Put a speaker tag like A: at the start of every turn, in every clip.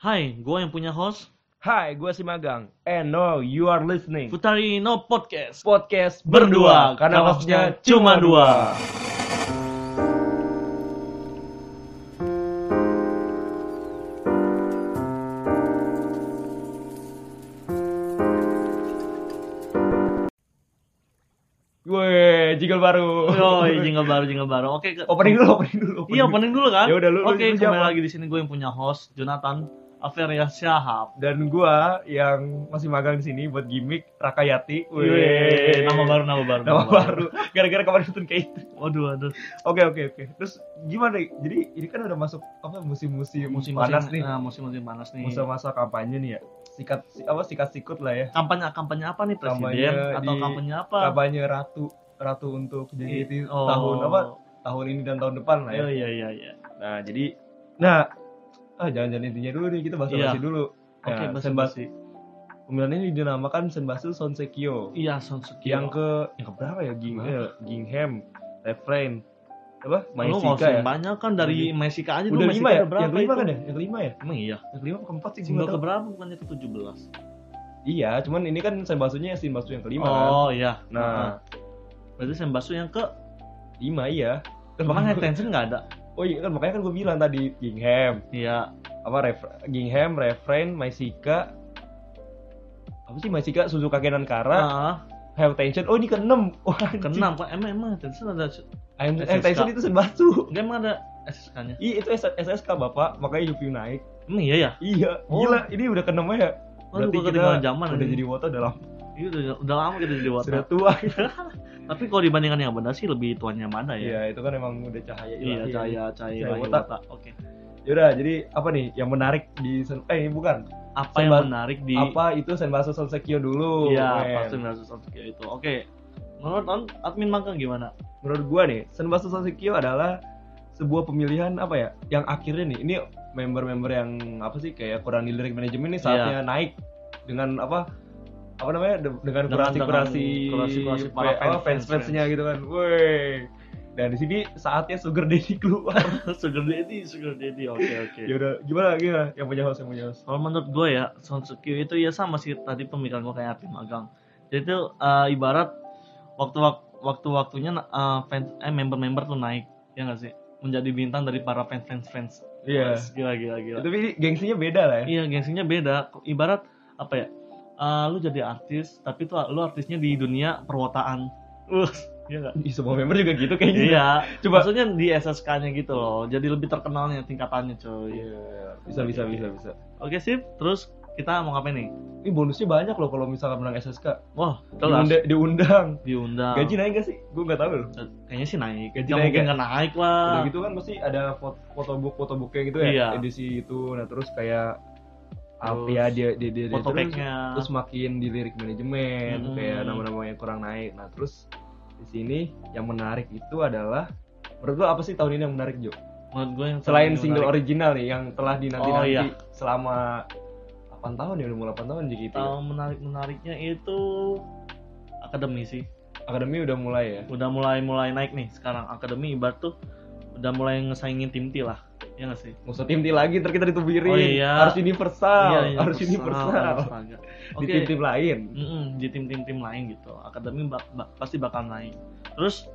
A: Hai, gue yang punya host
B: Hai, gue si Magang. And no, you are listening.
A: Futari No Podcast
B: Podcast
A: Berdua, karena hostnya cuma dua
B: Gue jingle baru.
A: Yoi, jingle baru, jingle baru Oke, ke-
B: opening dulu, opening dulu.
A: Iya, opening dulu kan?
B: Ya udah, lu- lu-
A: Oke, kembali
B: lu siapa?
A: lagi di sini gue yang punya host Jonathan Averia Syahab
B: Dan gue yang masih magang di sini buat gimmick Rakayati.
A: Wih, Iya, nama baru, nama baru
B: Nama baru. Gara-gara kemarin nonton kayak itu.
A: Waduh, waduh
B: Oke, oke, oke. Terus gimana? Jadi ini kan udah masuk apa musim-musim
A: Musim-musim
B: panas nih.
A: nah, Musim-musim panas nih
B: Masa-masa kampanye nih ya. Sikat si- apa sikat sikut lah ya.
A: Kampanye-kampanye apa nih, Presiden?
B: Kampanye
A: Atau
B: di-
A: kampanye apa?
B: Kampanye ratu ratu untuk jadi
A: Oh.
B: tahun apa tahun ini dan tahun depan lah
A: Iya,
B: ya.
A: iya, iya, iya.
B: Nah, jadi nah ah jangan-jangan intinya dulu nih, kita bahas basi
A: Iya.
B: dulu.
A: Oke,
B: Nah,
A: basi-
B: Senbatsu. Pemilihan ini dinamakan Senbatsu Sonsekyo.
A: Iya, Sonsuke
B: Yang ke yang ke berapa ya? Ging,
A: Berapa?
B: eh, Gingham, Refrain. Apa?
A: Lu nggak
B: Maesika
A: usah
B: ya?
A: yang banyak kan dari Mesika aja
B: Udah
A: dulu
B: lima
A: Mesika
B: ya?
A: ada berapa
B: Yang kelima
A: itu?
B: kan ya? Yang kelima ya?
A: Emang iya.
B: Yang kelima apa keempat sih? gua
A: Single kan? ke
B: nggak tahu.
A: berapa bukannya itu 17?
B: Iya, cuman ini kan Senbatsunya Senbatsu yang kelima kan.
A: Oh iya.
B: Nah,
A: berarti Senbatsu yang ke
B: lima iya. Kan
A: Emang
B: makanya-
A: High Tension nggak ada?
B: Oh iya kan makanya kan gue bilang tadi Gingham,
A: Iya.
B: apa Ref- Gingham, Refrain, Maisika apa sih Maisika Suzuka Kenan Kara,
A: Ah,
B: High Tension. Oh ini keenam. Wah, anjing.
A: keenam kok. Emang emang High Tension ada? Nggak
B: High
A: SSK.
B: High Tension itu senbatsu.
A: emang ada SSK-nya?
B: Iya itu S- SSK Bapak, makanya Yupi naik.
A: Emang iya ya.
B: Iya,
A: Oh.
B: gila ini udah keenam ya.
A: Waduh, gua
B: Berarti kita
A: ketinggalan zaman
B: udah
A: ini.
B: jadi wota dalam
A: Iya udah, udah lama kita jadi wata.
B: sudah tua.
A: Tapi kalau dibandingkan yang benar sih lebih tuannya mana ya?
B: Iya, itu kan emang udah cahaya
A: Iya, cahaya
B: ilahi.
A: cahaya
B: Cahaya
A: ilahi
B: wata.
A: wata. Oke.
B: Yaudah, jadi apa nih yang menarik di sen- eh bukan,
A: Apa
B: Senbat-
A: yang menarik di
B: apa itu Senbatsu Sonsekyo dulu.
A: Iya,
B: men.
A: pasti Nasus Otsuki itu. Oke. Menurut an- admin Mangkang gimana?
B: menurut gua nih Senbatsu Sasekyo adalah sebuah pemilihan apa ya yang akhirnya nih ini member-member yang apa sih kayak kurang lirik manajemen ini
A: Iya.
B: saatnya naik dengan apa apa namanya de- dengan
A: Dengan-
B: kurasi kurasi
A: dengan kurasi-kurasi para fans-
B: fans fansnya gitu kan, woi dan di sini saatnya Sugar Daddy
A: Iya.
B: keluar
A: Sugar Daddy, Sugar Daddy. Oke, oke.
B: ya udah gimana gimana yang punya host yang punya host
A: Kalau menurut gue ya, Sonsuke itu ya sama sih tadi pemikiran gue kayak Arvin Magang. Jadi itu eh, ibarat waktu waktu waktunya eh, fans eh member-member tuh naik ya nggak sih menjadi bintang dari para fans fans fans.
B: iya
A: Gila gila gila.
B: tapi ini gengsinya beda lah ya
A: Iya gengsinya beda. Ibarat apa ya? Eh, lu jadi artis tapi tuh lu artisnya di dunia perwotaan. Uh, iya nggak?
B: Ih, semua member juga gitu kayaknya
A: Iya.
B: Coba.
A: Maksudnya di SSK-nya gitu loh. Jadi lebih terkenalnya tingkatannya coy.
B: Iya, bisa bisa bisa bisa
A: Oke sip. Terus kita mau ngapain nih?
B: ini bonusnya banyak loh kalau misalkan menang SSK
A: Wah, jelas.
B: diundang, diundang.
A: diundang Eh,
B: Gaji naik gak sih? Gue gak tau loh.
A: kayaknya sih naik
B: Gaji
A: Nggak
B: naik
A: mungkin
B: ya?
A: nggak naik lah
B: Udah gitu kan pasti ada foto- fotobook fotobooknya gitu ya
A: Ah. Iya.
B: edisi itu. Nah terus kayak apa
A: Terus
B: ya dia dia dia, dia
A: foto
B: terus,
A: pack-nya. Hmm.
B: terus makin dilirik manajemen
A: Mm-mm.
B: kayak nama-nama yang kurang naik. Nah terus di sini yang menarik itu adalah menurut lo apa sih tahun ini yang menarik Jo?
A: menurut gue yang
B: Selain
A: paling
B: single
A: menarik
B: original nih yang telah dinanti nanti
A: iya.
B: selama 8 tahun ya udah mau 8 tahun JKT. ya?
A: tahun menarik menariknya itu akademi sih
B: Akademi udah mulai ya.
A: udah mulai mulai naik nih sekarang akademi ibarat tuh udah mulai ngesaingin tim T lah ya nggak sih
B: Musuh tim T lagi ntar kita ditubirin.
A: Oh, iya.
B: Harus universal,
A: Iya, iya,
B: harus universal.
A: harus laga.
B: Di
A: Oke,
B: tim-tim lain.
A: mm-mm, di tim-tim tim lain gitu. Akademi bak- bak- pasti bakal naik. Terus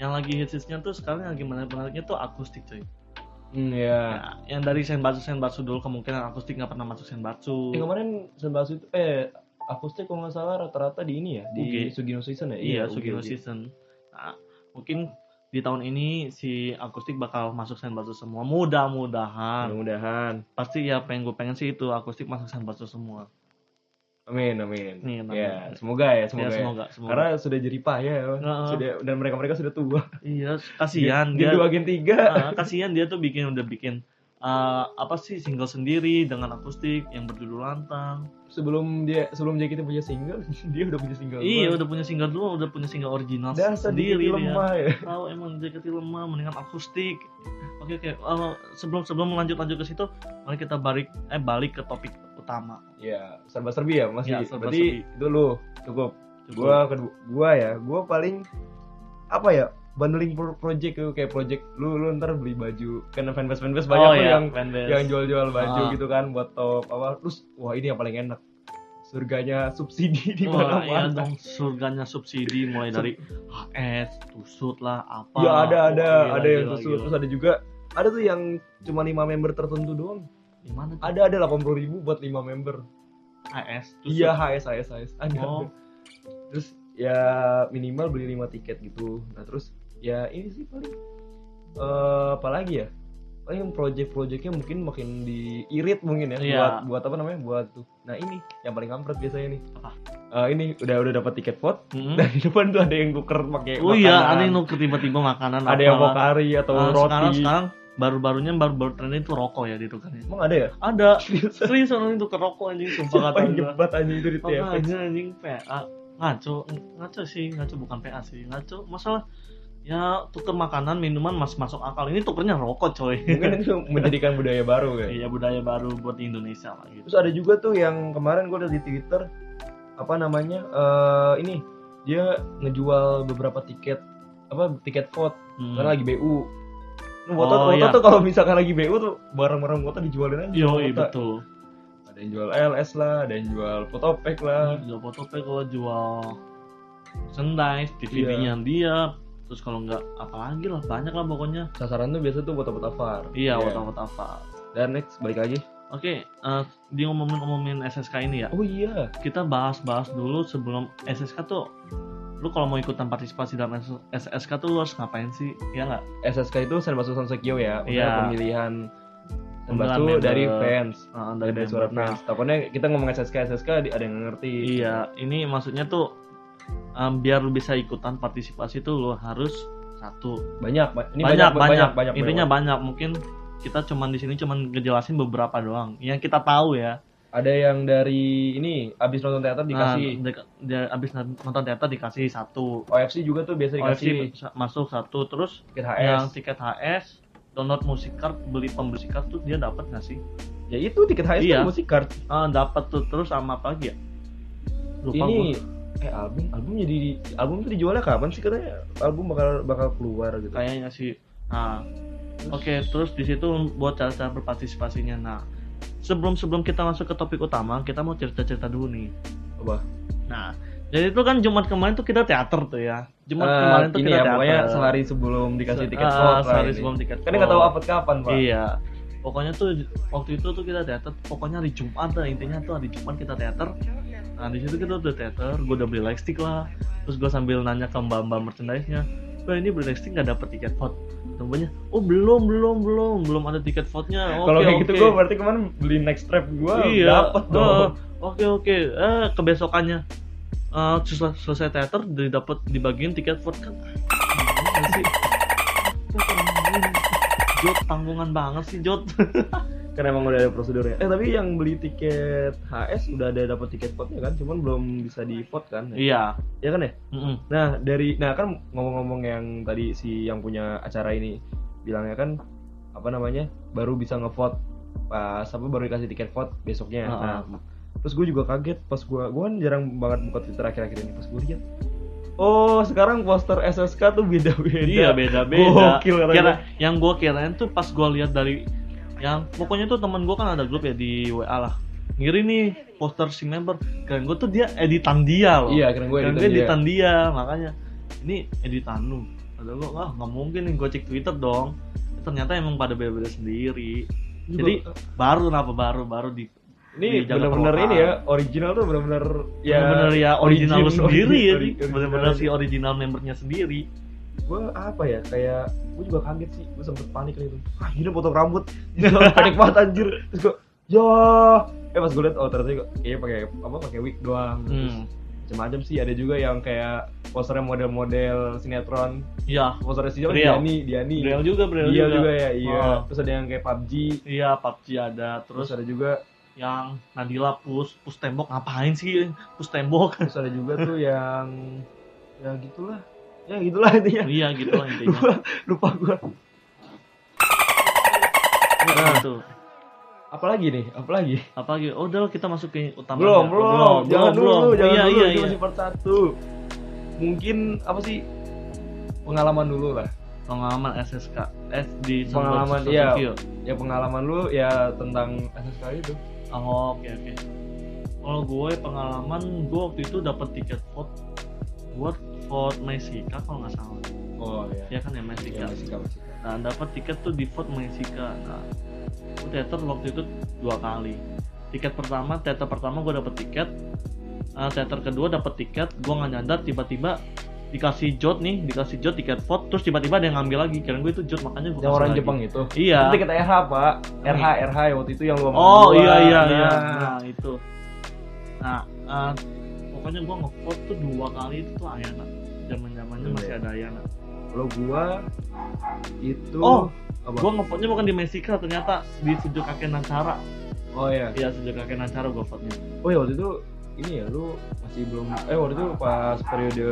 A: yang lagi hitsnya tuh sekarang yang lagi menarik-menariknya tuh akustik coy.
B: Hmm, ya.
A: Nah, yang dari senbatsu senbatsu dulu kemungkinan akustik nggak pernah masuk senbatsu.
B: Yang kemarin Senbatsu itu eh akustik kalau nggak salah rata-rata di ini ya di
A: Uge.
B: Sugino season ya.
A: Iya,
B: Uge,
A: Sugino
B: Uge.
A: season. Nah, mungkin di tahun ini si akustik bakal masuk senbatsu semua.
B: Iya.
A: Mudah-mudahan.
B: Mudah-mudahan.
A: Pasti ya pengen gue pengen sih itu akustik masuk senbatsu semua.
B: Amin, amin.
A: Amin, amin.
B: Ya, semoga ya, semoga.
A: Ya,
B: ya.
A: semoga, semoga.
B: Karena sudah jadi payah ya.
A: Heeh.
B: Sudah dan mereka-mereka sudah tua.
A: iya, kasihan
B: Gen
A: dia.
B: dua, gen tiga.
A: Ah, kasihan dia tuh bikin udah bikin eh, apa sih single sendiri dengan akustik yang berjudul lantang.
B: Sebelum dia sebelum dia kita punya single, dia udah punya single.
A: Iya, udah punya single dulu, udah punya single original
B: Dan sedikit
A: sendiri dia.
B: lemah ya.
A: tahu emang JKT lemah mendingan akustik oke oke eh, sebelum sebelum lanjut lanjut ke situ mari kita balik eh balik ke topik utama
B: Iya, serba-serbi ya masih.
A: Iya, serba
B: Berarti itu lu cukup.
A: Cukup.
B: gua kedua gua ya gua paling apa ya bundling pro- project lu kayak project lu lu ntar beli baju karena fanbase fanbase banyak
A: Oh
B: tuh
A: ya,
B: yang
A: fanbase.
B: yang jual-jual baju
A: Ah.
B: gitu kan buat top apa terus wah ini yang paling enak surganya subsidi di
A: Wah,
B: mana
A: iya
B: mana
A: dong, surganya subsidi mulai dari HS, tusut lah, apa.
B: ya ada
A: Wah,
B: ada
A: gila,
B: ada yang
A: gila,
B: tusuk
A: gila.
B: terus ada juga ada tuh yang cuma lima member tertentu doang
A: Gimana tuh?
B: ada ada delapan puluh ribu buat lima member
A: HS, tusut.
B: iya HS HS HS ada
A: Oh.
B: terus ya minimal beli lima tiket gitu nah terus ya ini sih paling eh apa lagi ya paling project-projectnya mungkin makin diirit mungkin ya
A: Iya.
B: buat buat apa namanya buat tuh nah ini yang paling kampret biasanya nih
A: Apa?
B: Eh, ini udah udah dapat tiket vote
A: Mm-mm.
B: dari depan tuh ada yang tuker pakai
A: Oh iya,
B: makanan.
A: ada yang nuker tiba-tiba makanan.
B: ada yang mau
A: apalah.
B: kari atau
A: Ah,
B: roti
A: Sekarang, sekarang baru-barunya baru-baru trennya itu rokok ya ditukarnya.
B: emang ada ya
A: Ada, serius orang itu rokok anjing, sumpah
B: siapa
A: kata
B: yang gitu ya,
A: gue.
B: jebat anjing itu di
A: Apa
B: TFX
A: aja anjing PA ngaco ngaco sih ngaco bukan PA sih ngaco masalah ya tuker makanan minuman mas masuk akal ini tukernya rokok coy
B: mungkin itu menjadikan budaya baru ya
A: iya budaya baru buat di Indonesia lah gitu
B: Terus ada juga tuh yang kemarin gue liat di Twitter apa namanya eh ini dia ngejual beberapa tiket apa tiket vote
A: Hmm.
B: karena lagi BU. Nah, Wota,
A: Oh,
B: Wota
A: iya.
B: tuh kalau misalkan lagi BU tuh barang-barang Wota dijualin aja.
A: Yoi,
B: Wota.
A: betul
B: Ada yang jual LS lah, ada yang jual Photopec lah.
A: jual fotopek Iya, kalau jual merchandise DVD-nya dia terus kalau nggak apa lagi lah banyak lah pokoknya
B: Sasaran tuh biasa tuh foto-foto far.
A: iya
B: Iya.
A: otak otak apa
B: Dan next balik lagi.
A: oke eh, di ngomongin ngomongin SSK ini ya
B: Oh iya.
A: kita bahas-bahas dulu sebelum SSK tuh lu kalau mau ikutan partisipasi dalam SSK tuh lu harus ngapain sih ya nggak
B: SSK itu Senbatsu Sansekyo ya, untuk
A: Iya.
B: pemilihan
A: Pemilihan
B: Senbatsu
A: member.
B: dari fans.
A: Nah, dari
B: Dari suara
A: member. Nah,
B: fans. Takutnya kita ngomong SSK SSK ada yang ngerti.
A: iya ini maksudnya tuh em, biar lu bisa ikutan partisipasi tuh lu harus satu
B: banyak ba- ini
A: banyak, banyak,
B: banyak
A: intinya
B: banyak.
A: banyak. mungkin kita cuman di sini cuman ngejelasin beberapa doang yang kita tahu ya
B: ada yang dari ini abis nonton teater dikasih
A: nah, dek- dia abis nonton teater dikasih satu
B: OFC juga tuh biasa dikasih
A: OFC masuk satu terus
B: tiket
A: yang
B: HS
A: tiket HS download musik card beli pembeli card tuh dia dapat nggak sih
B: ya itu tiket HS
A: Iya.
B: tuh musik card
A: ah dapat tuh terus sama apa lagi ya lupa
B: ini
A: gua.
B: eh album album jadi album tuh dijualnya kapan sih katanya album bakal bakal keluar gitu
A: kayaknya sih nah oke terus di situ buat cara-cara berpartisipasinya nah sebelum sebelum kita masuk ke topik utama kita mau cerita-cerita dulu nih
B: Apa?
A: nah jadi itu kan Jumat kemarin tuh kita teater tuh ya Jumat
B: Eh,
A: kemarin tuh
B: ini
A: kita
B: ya
A: teater
B: pokoknya sehari sebelum dikasih
A: Se-
B: tiket
A: ah,
B: slot lah
A: sehari
B: ini.
A: sebelum tiket
B: kan nggak tahu
A: slot.
B: apa kapan pak
A: Iya. Pokoknya tuh waktu itu tuh kita teater, pokoknya hari Jumat lah intinya tuh hari Jumat kita teater. Nah di situ kita udah teater, gue udah beli lightstick lah. Terus gue sambil nanya ke mbak mbak merchandise nya, Wah ini beli lightstick nggak dapet tiket vote? Tunggunya, oh belum belum belum belum ada tiket vote-nya. Oke,
B: kalau kayak gitu
A: oke."
B: gue berarti kemarin beli next trap gue
A: iya,
B: dapet
A: eh,
B: dong
A: Oke oke, eh kebesokannya eh, selesai, selesai teater didapat dibagiin tiket vote kan. Gimana sih? Jod tanggungan banget sih Jod.
B: karena emang udah ada prosedurnya eh tapi yang beli tiket HS udah ada dapat tiket vote kan cuman belum bisa di vote kan
A: Iya.
B: ya kan ya
A: Mm-mm.
B: Nah dari nah kan ngomong-ngomong yang tadi si yang punya acara ini bilangnya kan apa namanya baru bisa ngevote pas apa baru dikasih tiket vote besoknya.
A: Ah,
B: Nah, terus gue juga kaget pas gue gue kan jarang banget buka Twitter akhir-akhir ini pas gue lihat oh sekarang poster SSK tuh beda-beda.
A: Iya beda-beda.
B: Gokil katanya.
A: Kira, yang gue kirain tuh pas gue lihat dari yang pokoknya tuh teman gue kan ada grup ya di WA lah. Ngiri nih poster si member. Keren gue tuh dia editan dia loh.
B: Iya keren gue
A: Keren
B: editan
A: gue
B: dia.
A: editan dia makanya ini editan lu. Ada gue ah nggak mungkin nih gue cek Twitter dong. Ternyata emang pada beda-beda sendiri.
B: Juga-
A: Jadi baru kenapa baru baru di
B: ini
A: dijaga
B: benar-benar
A: perlokaan.
B: ini ya original tuh benar-benar ya
A: bener-bener ya original lu
B: origin-
A: sendiri ya.
B: origin- original
A: Bener-bener
B: aja.
A: si original membernya sendiri.
B: gue apa ya kayak gue juga kaget sih gue sempet panik gitu akhirnya potong rambut Gila, panik banget anjir terus gue ya eh pas gue liat oh ternyata gua- kayaknya pakai apa pakai wig doang terus
A: Hmm.
B: macam-macam sih ada juga yang kayak posternya model-model sinetron
A: Iya.
B: posternya siapa
A: Real.
B: Diani Diani
A: Brel juga Brel
B: dia juga ya iya
A: Ah.
B: terus ada yang kayak PUBG
A: Iya, PUBG ada.
B: terus
A: Terus
B: ada juga
A: yang Nadila push, push tembok ngapain sih? Push tembok.
B: terus ada juga tuh yang ya gitulah ya gitulah intinya
A: iya gitu lah intinya.
B: lupa lupa gue
A: Nah,
B: Nah.
A: gitu.
B: apalagi nih apalagi
A: Apalagi, oh udah lah, kita masuk ke utama.
B: belum, belum, jangan dulu, jangan
A: iya,
B: dulu,
A: Iya,
B: itu
A: iya.
B: masih part satu. Mungkin apa sih? pengalaman dulu lah
A: pengalaman SSK S di
B: Pengalaman,
A: Sosokyo.
B: iya. ya pengalaman lu ya tentang SSK itu
A: Oh, oke oke. Kalau gue pengalaman gue waktu itu dapat tiket vote buat vote Mexica kalau nggak salah.
B: oh
A: Ya
B: iya
A: kan ya Mexica.
B: ya, Masika, Masika.
A: Nah dapat tiket tuh di vote Mexica. Nah gue teater waktu itu dua kali. Tiket pertama teater pertama gue dapat tiket. Eh, teater kedua dapat tiket. Gue nggak nyadar tiba-tiba dikasih jod nih, dikasih jod tiket vote. Terus tiba-tiba ada yang ngambil lagi. Kira gue itu jod makanya gue
B: yang
A: kasih
B: orang
A: lagi.
B: Jepang itu Iya.
A: Iya.
B: nanti kita RH pak
A: Hmm.
B: RH RH yang ya, waktu itu yang lu sama
A: Oh
B: gua.
A: iya iya iya.
B: Nah,
A: Nah itu. Nah eh, pokoknya gua ngevote tuh dua kali itu tuh Ayana. Zaman zamannya
B: Hmm,
A: masih
B: iya.
A: ada ya, Ayana.
B: kalau gua itu
A: Oh,
B: apa?
A: Gua ngevote-nya bukan di Mexico ternyata di Sejuk Kakek Nancara.
B: oh iya
A: Iya Sejuk Kakek Nancara gua vote-nya.
B: Oh ya waktu itu ini ya lu masih belum eh waktu itu pas periode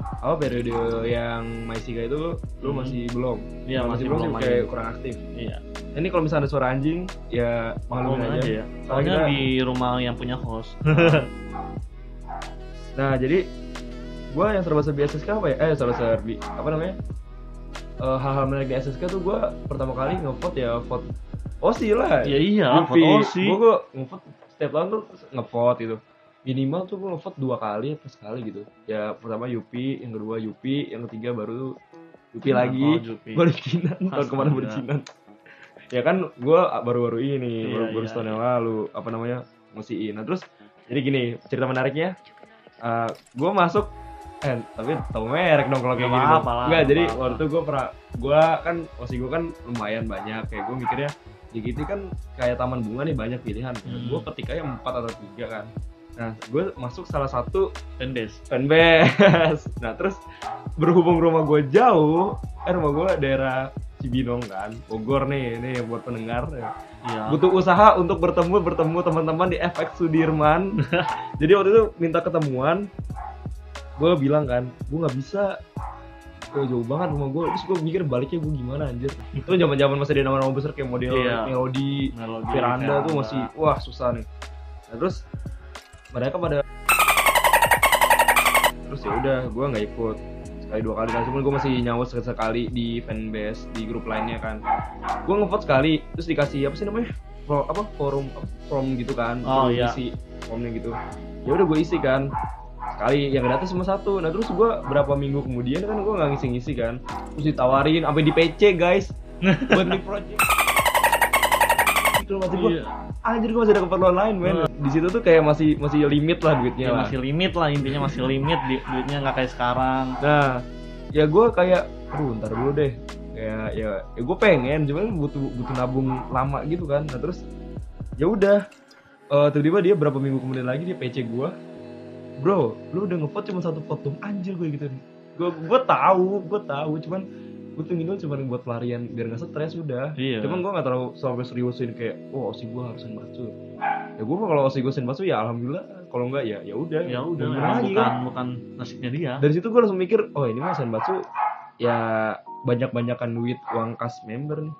B: apa periode yang Maisika itu lu, lu
A: Hmm.
B: masih belum
A: Iya
B: Kalau
A: masih belum
B: sih kayak
A: main.
B: kurang aktif
A: Iya.
B: ini kalau misalnya ada suara anjing ya
A: Maklum
B: maklumin
A: aja
B: aja
A: ya. Soalnya
B: kita-
A: di rumah yang punya host.
B: nah jadi gua yang serba serbi SSK apa ya eh serba serbi apa namanya Eh, hal-hal menarik di SSK tuh gua pertama kali ngevote ya vote osi lah
A: Iya iya.
B: Yupi.
A: Vote sih.
B: Gua- gua ngevote setiap tahun tuh ngevote gitu. Minimal tuh gue ngevote dua kali atau sekali gitu. Ya pertama Yupi, yang kedua Yupi, yang ketiga baru tuh
A: Iya,
B: Yupi lagi. Baru Kinan, tahun
A: Astaga.
B: kemarin baru Kinan. ya kan gue baru-baru ini,
A: Iya,
B: baru, baru
A: iya,
B: setahun
A: iya.
B: yang lalu, apa namanya, ngisiin. Nah terus, jadi gini, cerita menariknya, eh gue masuk eh tapi tau merek dong kalau kayak
A: Nggak
B: gini dong.
A: apa-apa lah,
B: Enggak, jadi
A: nggak apa-apa.
B: waktu itu gue pernah gue kan posisi gue kan lumayan banyak kayak gue mikirnya Dikiti kan kayak taman bunga nih banyak pilihan
A: Hmm.
B: gue petiknya empat atau tiga kan nah gue masuk salah satu
A: Pendes.
B: fanbase nah terus berhubung rumah gue jauh eh rumah gue daerah Cibinong kan Bogor nih ini buat pendengar ya
A: Iya.
B: butuh usaha untuk bertemu bertemu teman-teman di FX Sudirman jadi waktu itu minta ketemuan gue bilang kan gue nggak bisa gue jauh banget rumah gue terus gue mikir baliknya gue gimana anjir itu zaman zaman masih ada nama-nama besar kayak model
A: Iya.
B: melodi
A: Melodi
B: Veranda tuh masih wah susah nih nah, terus mereka pada terus ya udah gue nggak ikut sekali dua kali kan cuman gue masih nyawa sekali sekali di fanbase di grup lainnya kan gue ngevote sekali terus dikasih apa sih namanya Fro- apa forum apa, form gitu kan
A: Oh,
B: Suruh
A: iya.
B: isi formnya gitu ya udah gue isi kan sekali yang data cuma satu nah terus gue berapa minggu kemudian kan gue nggak ngisi-ngisi kan terus ditawarin sampai di PC guys buat di project itu masih gue
A: Iya.
B: anjir gue masih ada keperluan lain men di situ tuh kayak masih masih limit lah duitnya
A: Ya,
B: lah.
A: masih limit lah intinya masih limit di- duitnya nggak kayak sekarang
B: nah ya gue kayak aduh ntar dulu deh kayak ya, ya gue pengen cuman butuh butuh nabung lama gitu kan nah terus ya udah Eh, tiba-tiba dia berapa minggu kemudian lagi dia PC gue bro lu udah ngevote cuma satu vote dong anjir gue gitu gue gue tahu gue tahu cuman gue tungguin dulu cuman buat pelarian biar nggak stres udah
A: iya
B: Cuman gue gak terlalu sampai seriusin kayak, wah osi gue harus senbatsu. Ya gue kalau osi gue senbatsu ya alhamdulillah. Kalau enggak ya ya udah.
A: ya udah
B: Gimana
A: emang
B: lagi
A: bukan
B: kan?
A: bukan nasibnya dia
B: Dari situ gue langsung mikir, oh ini mah senbatsu ya banyak-banyakan duit uang kas member nih.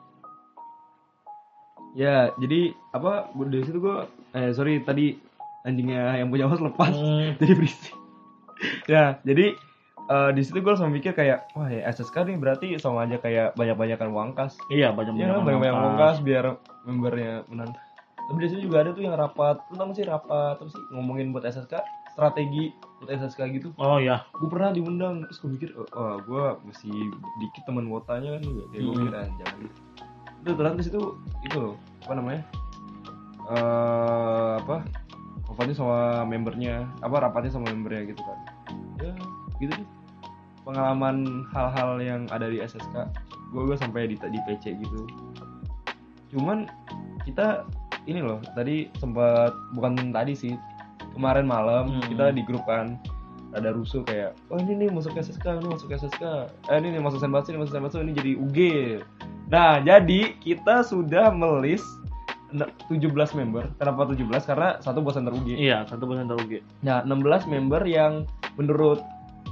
B: Ya jadi apa? Gue dari situ gue, eh sorry tadi anjingnya yang punya host lepas
A: Hmm,
B: jadi berisik ya jadi eh, di situ gue langsung mikir kayak wah ya SSK nih berarti sama aja kayak banyak-banyakan uang kas
A: iya banyak
B: Iya kan banyak-banyak bongkas biar membernya menang. Tapi di sini juga ada tuh yang rapat, lu tau gak sih rapat terus sih ngomongin buat SSK strategi buat SSK gitu.
A: oh ya
B: Gue pernah diundang terus gue mikir, oh, oh gue masih dikit teman wotanya kan juga, kayak gue
A: Hmm.
B: mikir anjir. Terus ternyata di situ itu loh, apa namanya? Eh apa? Rapatnya sama membernya, apa rapatnya sama membernya gitu kan? Ya gitu deh. Pengalaman hal-hal yang ada di SSK, gue gue sampai di, di PC gitu cuman kita ini loh tadi sempat bukan tadi sih kemarin malam
A: Hmm.
B: kita di grup kan ada rusuh kayak oh ini nih masuk SSK ini masuk SSK eh ini nih masuk Senbatsu ini masuk Senbatsu ini jadi UG nah jadi kita sudah melis 17 member kenapa 17 karena satu buat center UG
A: iya satu bulan rugi
B: Nah, 16 member yang menurut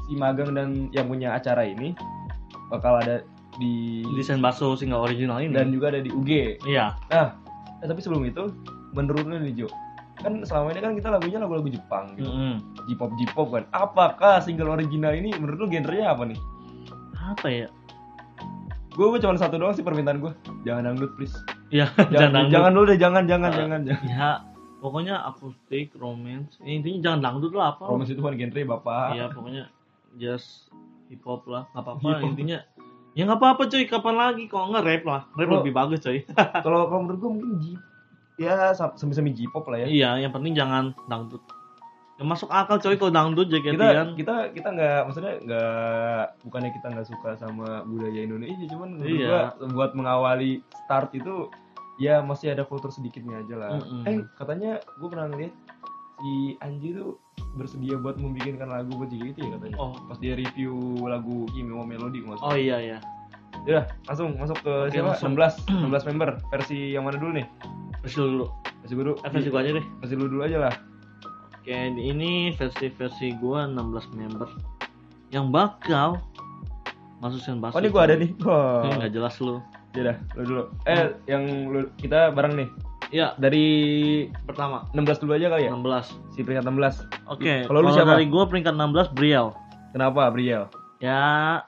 B: si magang dan yang punya acara ini bakal ada di
A: desain bakso sih nggak original ini
B: dan juga ada di UG.
A: iya
B: Nah, eh, tapi sebelum itu, menurut lu nih Jo, kan selama ini kan kita lagunya lagu-lagu Jepang gitu,
A: Mm-mm.
B: J-pop J-pop kan. Apakah single original ini menurut lu genrenya apa nih?
A: apa ya
B: Gue cuma satu doang sih permintaan gue. Jangan dangdut please.
A: ya
B: Jangan jangan,
A: jangan, dangdut.
B: dulu deh, jangan jangan
A: Ah.
B: jangan jangan.
A: ya pokoknya akustik romance ya, intinya jangan dangdut lah apa
B: Romance itu bukan genre, Bapak.
A: Iya pokoknya just hip hop lah, nggak apa-apa
B: Hip hop.
A: intinya. Ya nggak apa-apa cuy, kapan lagi kalau nggak rap lah, rap
B: Lo-
A: lebih bagus cuy.
B: Kalau kalau menurut gue mungkin J ya sam- semi-semi J-pop lah ya.
A: iya, yang penting jangan dangdut. Ya, masuk akal cuy kalau dangdut
B: kita
A: jaketian.
B: kita kita nggak maksudnya nggak bukannya kita nggak suka sama budaya Indonesia cuman menurut
A: Iya.
B: gua buat mengawali start itu ya masih ada kultur sedikitnya aja lah
A: Mm-mm.
B: eh katanya gue pernah ngeliat si Anji tuh bersedia buat membikinkan lagu buat JKT ya katanya
A: Oh,
B: pas dia review lagu Kimimo Melody nggak
A: oh iya iya.
B: ya langsung masuk ke
A: Oke,
B: siapa
A: langsung.
B: 16 16 member versi yang mana dulu nih
A: Versi dulu,
B: versi guru
A: eh, versi gua aja deh.
B: versi lu dulu aja lah
A: Oke, ini versi versi gua 16 member yang bakal masuk sen
B: oh ini gue ada nih oh.
A: Iya, Nggak Hmm. jelas lu.
B: ya dah lu dulu eh yang lu, kita bareng nih
A: Ya
B: dari
A: pertama
B: 16 dulu aja kali ya
A: 16.
B: si peringkat 16
A: Oke,
B: Kalau lu
A: kalau
B: siapa?
A: dari gua peringkat 16 Briel.
B: kenapa Briel
A: ya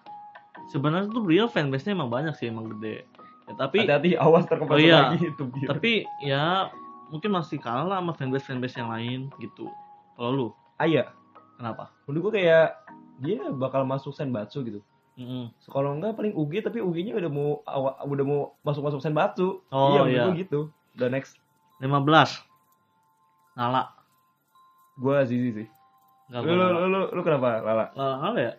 A: sebenarnya tuh Brio fanbase-nya emang banyak sih emang gede ya, tapi
B: hati-hati awas
A: Oh,
B: terkepepet
A: iya.
B: lagi itu Briel
A: tapi ya mungkin masih kalah lah sama fanbase fanbase yang lain gitu kalau lu
B: Aya
A: kenapa
B: Ah, iya. menurut gue kayak dia bakal masuk senbatsu gitu
A: Mm-mm.
B: So, kalau enggak paling UG tapi UG-nya udah mau awa- udah mau masuk-masuk senbatsu
A: Oh,
B: menurut
A: iya.
B: gue gitu the next
A: 15 Nala
B: gue Zizi sih
A: nggak
B: lu, lu, lu, lu, lu kenapa Lala
A: Nala Nala ya